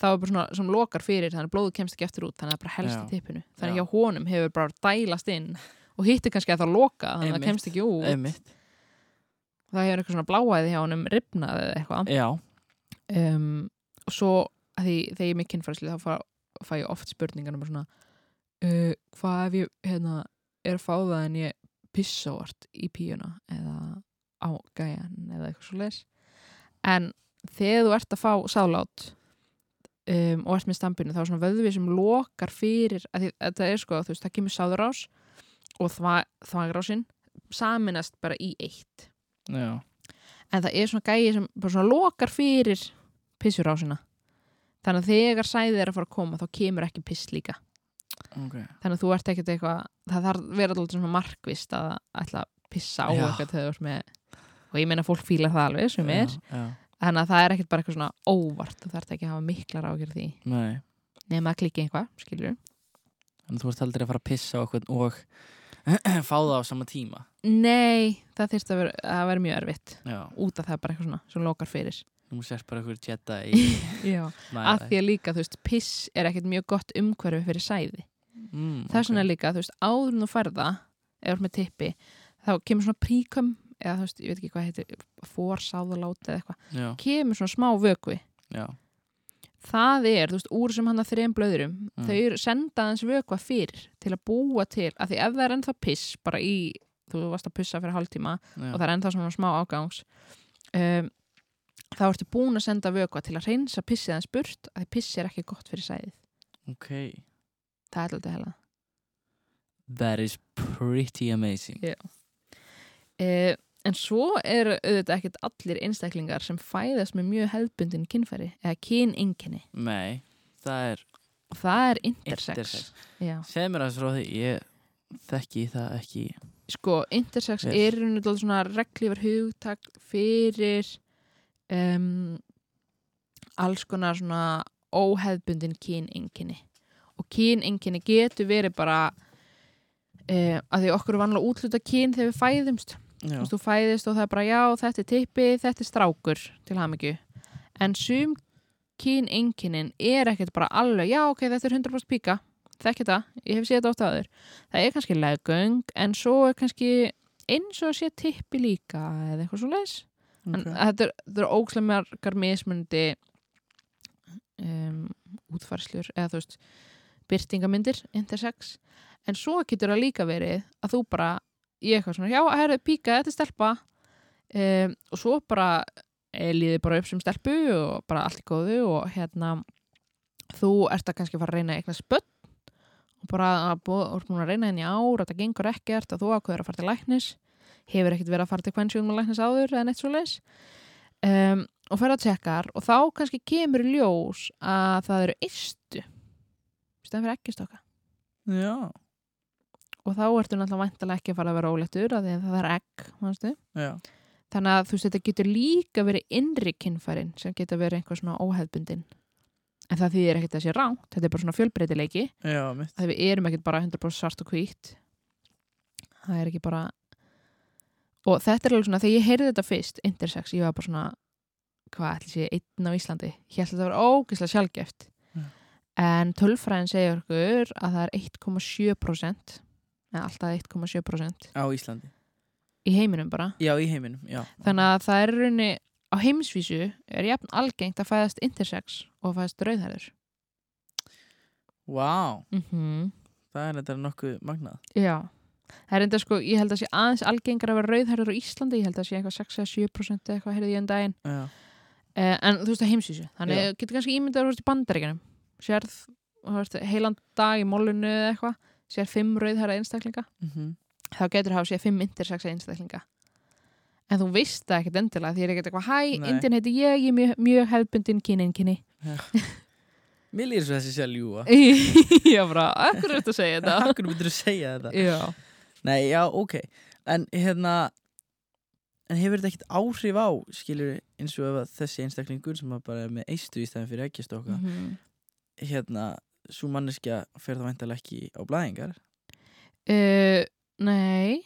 þá er bara svona sem lokar fyrir þannig að blóðið kemst ekki eftir út þannig að það bara helst í tippinu þannig
Já.
að hjá honum hefur bara dælast inn og hittir kannski að það loka þannig að það
Einmitt.
kemst ekki út
Einmitt,
það hefur eitthvað svona bláæði hjá honum ripnað eða eitthvað
já,
um, og svo að því, þegar ég er með kynfærslu þá fæ, fæ ég oft spurningar um svona uh, hvað ef ég hérna, er að fá það en ég pissa vart í píuna eða á gæjan eða eitthvað svo leis en þegar þú ert að fá sálát um, og ert með stampinu þá er svona vöðvi sem lokar fyrir að því, þetta er sko, þú veist, það kemur sáðurás og þva, þvagrásinn saminast bara í eitt
já
en það er svona gæi sem bara svona lokar fyrir pissurásina þannig að þegar sæðið er að fara að koma þá kemur ekki piss líka
Ok,
þannig að þú ert ekkert eitthvað það þarf vera alltaf svona markvist að ætla að pissa á
Já.
eitthvað þegar þú ert með og ég meina fólk fílar það alveg sem er
já, já.
þannig að það er ekkert bara eitthvað svona óvart þú þarf ekki að hafa miklar ágjör því
Nei,
nema að klikki eitthvað, skilur
en þú ert aldrei að fara að pissa á eitthvað og fá það á sama tíma
nei, það þyrst að vera, að vera mjög erfitt
Já,
út af það er bara eitthvað svona sem lokar fyrir
nú sérst bara eitthvað jetta í
Já, að því að líka, þú veist, piss er ekkert mjög gott umhverfi fyrir sæði
mm,
það er svona líka, þú veist, áður en þú færða eða þú ert með tippi, þá kemur svona príkum, eða þú veist, ég veit ekki hvað heitir fórsáðalát eða eitthvað
Já,
kemur svona smá vökvi,
já,
það er, þú veist, úr sem hann að þreim blöðurum,
Mm.
þau eru sendaðans vökva fyrir til að búa til af því ef það er ennþá piss, bara í þú varst að pussa fyrir hálftíma
já
og það er ennþá svona smá ágangs um, þá ertu búin að senda vökva til að reynsa pissið hans burt að því pissi er ekki gott fyrir sæðið,
Ok,
það er alltaf hella
that is pretty amazing
Eh, En svo eru auðvitað ekkert allir einstaklingar sem fæðast með mjög hefðbundin kynfæri eða kynenginni.
Nei, það er
Það er intersex.
intersex.
Já.
Segð mér aðeins frá því, ég þekki það ekki.
Sko, intersex
Yes.
yes. er í rauninni dálítið svona reglífar hugtak fyrir um, alls konar svona óhefðbundin kynenginni. Og kynenginni getur verið bara uh, að því okkur er vanlega útluta kyn þegar við fæðumst.
Já.
Þú veist, þú fæðist og það er bara já, þetta er tippi, þetta er strákur til hamingju. En sum kynenginnin er ekkert bara alveg, já ok, þetta er 100% píka. Þekki það, ég hef séð þetta oft aður. Það er kannski leggöng, en svo er kannski eins og sé tippi líka eða eitthvað svo leis. En
Ok.
þetta er, þetta er ókslega margar mismundi um, útfarslur eða þú veist byrtingamindir, intersex en svo getur það líka verið að þú bara ég eitthvað svona, já, herru, píka, þetta er stelpa um, og svo bara eh, líði bara upp sem stelpu og bara allt í góðu og hérna þú ert að kannski fara að reyna eitthvað spött og bara að bú- þú ert búin að reyna henni ár, þetta gengur ekkert að þú ákveður að fara til læknis hefur ekkert verið að fara til kvensjónum og læknis áður eða neitt svo leis um, og fer að tekkar og þá kannski kemur í ljós að það eru ystu stæðan fyrir ekki stokka
Já,
og þá ertu náttúrulega væntalega ekki að fara að vera óléttur af því að það er egg, mannstu
já.
þannig að þú veist þetta getur líka verið innri kynfærin sem getur verið einhver svona óhefbundin en það þýðir ekkert að sé ránt þetta er bara svona fjölbreytileiki
Já, mitt.
að við erum ekkert bara 100% svart og hvítt það er ekki bara og þetta er alveg svona þegar ég heyrði þetta fyrst, intersex, ég var bara svona hvað ætli sé einn á Íslandi ég ætla þetta að vera ógeðslega sjálfgeft
Já.
en tölfræðin segir okkur að það er 1,7% eða alltaf 1,7%
Á Íslandi.
í heiminum bara
Já, í heiminum, já.
þannig að það er í rauninni á heimsvísu er jafn algengt að fæðast intersex og að fæðast rauðherður
Vá,
mm -hmm.
það er þetta nokkuð magnað.
Já, það er enda sko, ég held að sé aðeins algengar að vera rauðherður á Íslandi, ég held að sé eitthvað 6-7% eða eitthvað heyrði ég um daginn,
Já.
eh, en þú veist að heimsvísu, þannig
Já.
Já. getur kannski ímyndað að þú veist í bandaríkjanum, sérð, þú veist, heilan dag í mólunu eða eitthvað, sérð 5 rauðherra einstaklinga,
Mm
þá getur hafa séð 5 intersexa einstaklinga. En þú veist það ekkert endilega, því ég er ekkert eitthvað, hæ,
Nei.
Indian heiti ég, ég er mjög, mjög hefbundin kyninginni.
Mér lýður svo þessi sé að ljúa.
Já, bara, akkur er þetta að segja þetta?
Akkur myndir að segja þetta.
Já.
Nei, já, ok. En hérna, en hefur þetta ekkert áhrif á, skilur eins og ef að þessi einstaklingur sem að bara er með eistu í stæðin fyrir ekkjastokka,
Mm
hérna, svo manneskja fer það væntalega ekki á blæðingar.
Uh, nei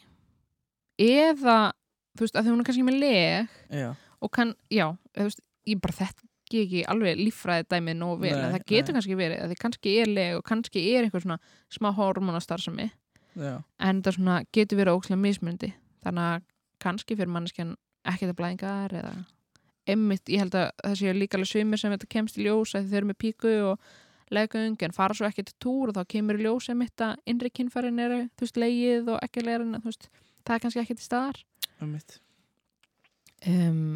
eða þú veist að því hún er kannski með leg
Já,
og kann, já, eða, þú veist, ég bara þekki ekki alveg líffræði dæmið nóg vel
Nei,
en það getur
nei.
kannski verið, að því kannski er leg og kannski er einhver svona smá hormonastarfsemi
já,
en það svona getur verið ókslega mismundi þannig að kannski fyrir manneskjan ekkert að blæðingar eða emmitt, ég held að það séu líka alveg sumir sem þetta kemst í ljós að þau eru með píku og legung en fara svo ekki til túr og þá kemur í ljós emmitt að innri kynfærin eru, þú veist, leið og ekki leirin, þú veist, það er kannski ekki til staðar
um mitt.
um,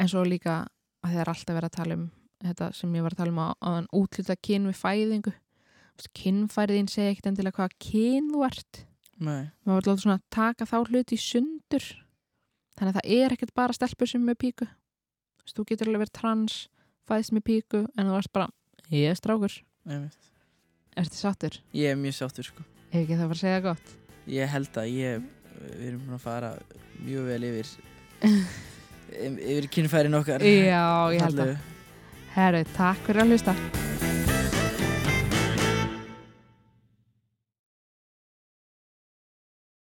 en svo líka að það er alltaf verið að tala um þetta sem ég var að tala um á þann útluta kyn við fæðingu Þú veist, kynfæriðin segja ekkert endilega hvaða kyn þú ert
Nei,
maður vil láta svona taka þá hluti í sundur þannig að það er ekkert bara stelpur sem er með píku Þú veist, þú getur alveg verið trans fæðist með píku en þú varst bara ég er strákur,
um mitt.
ertu sattur
Ég er mjög sáttur, sko.
ef ekki það var að segja gott
Ég held að ég, við erum búin að fara mjög vel yfir, yfir kynfærin okkar.
já, ég held
Fallegu.
að herru, takk fyrir að hlusta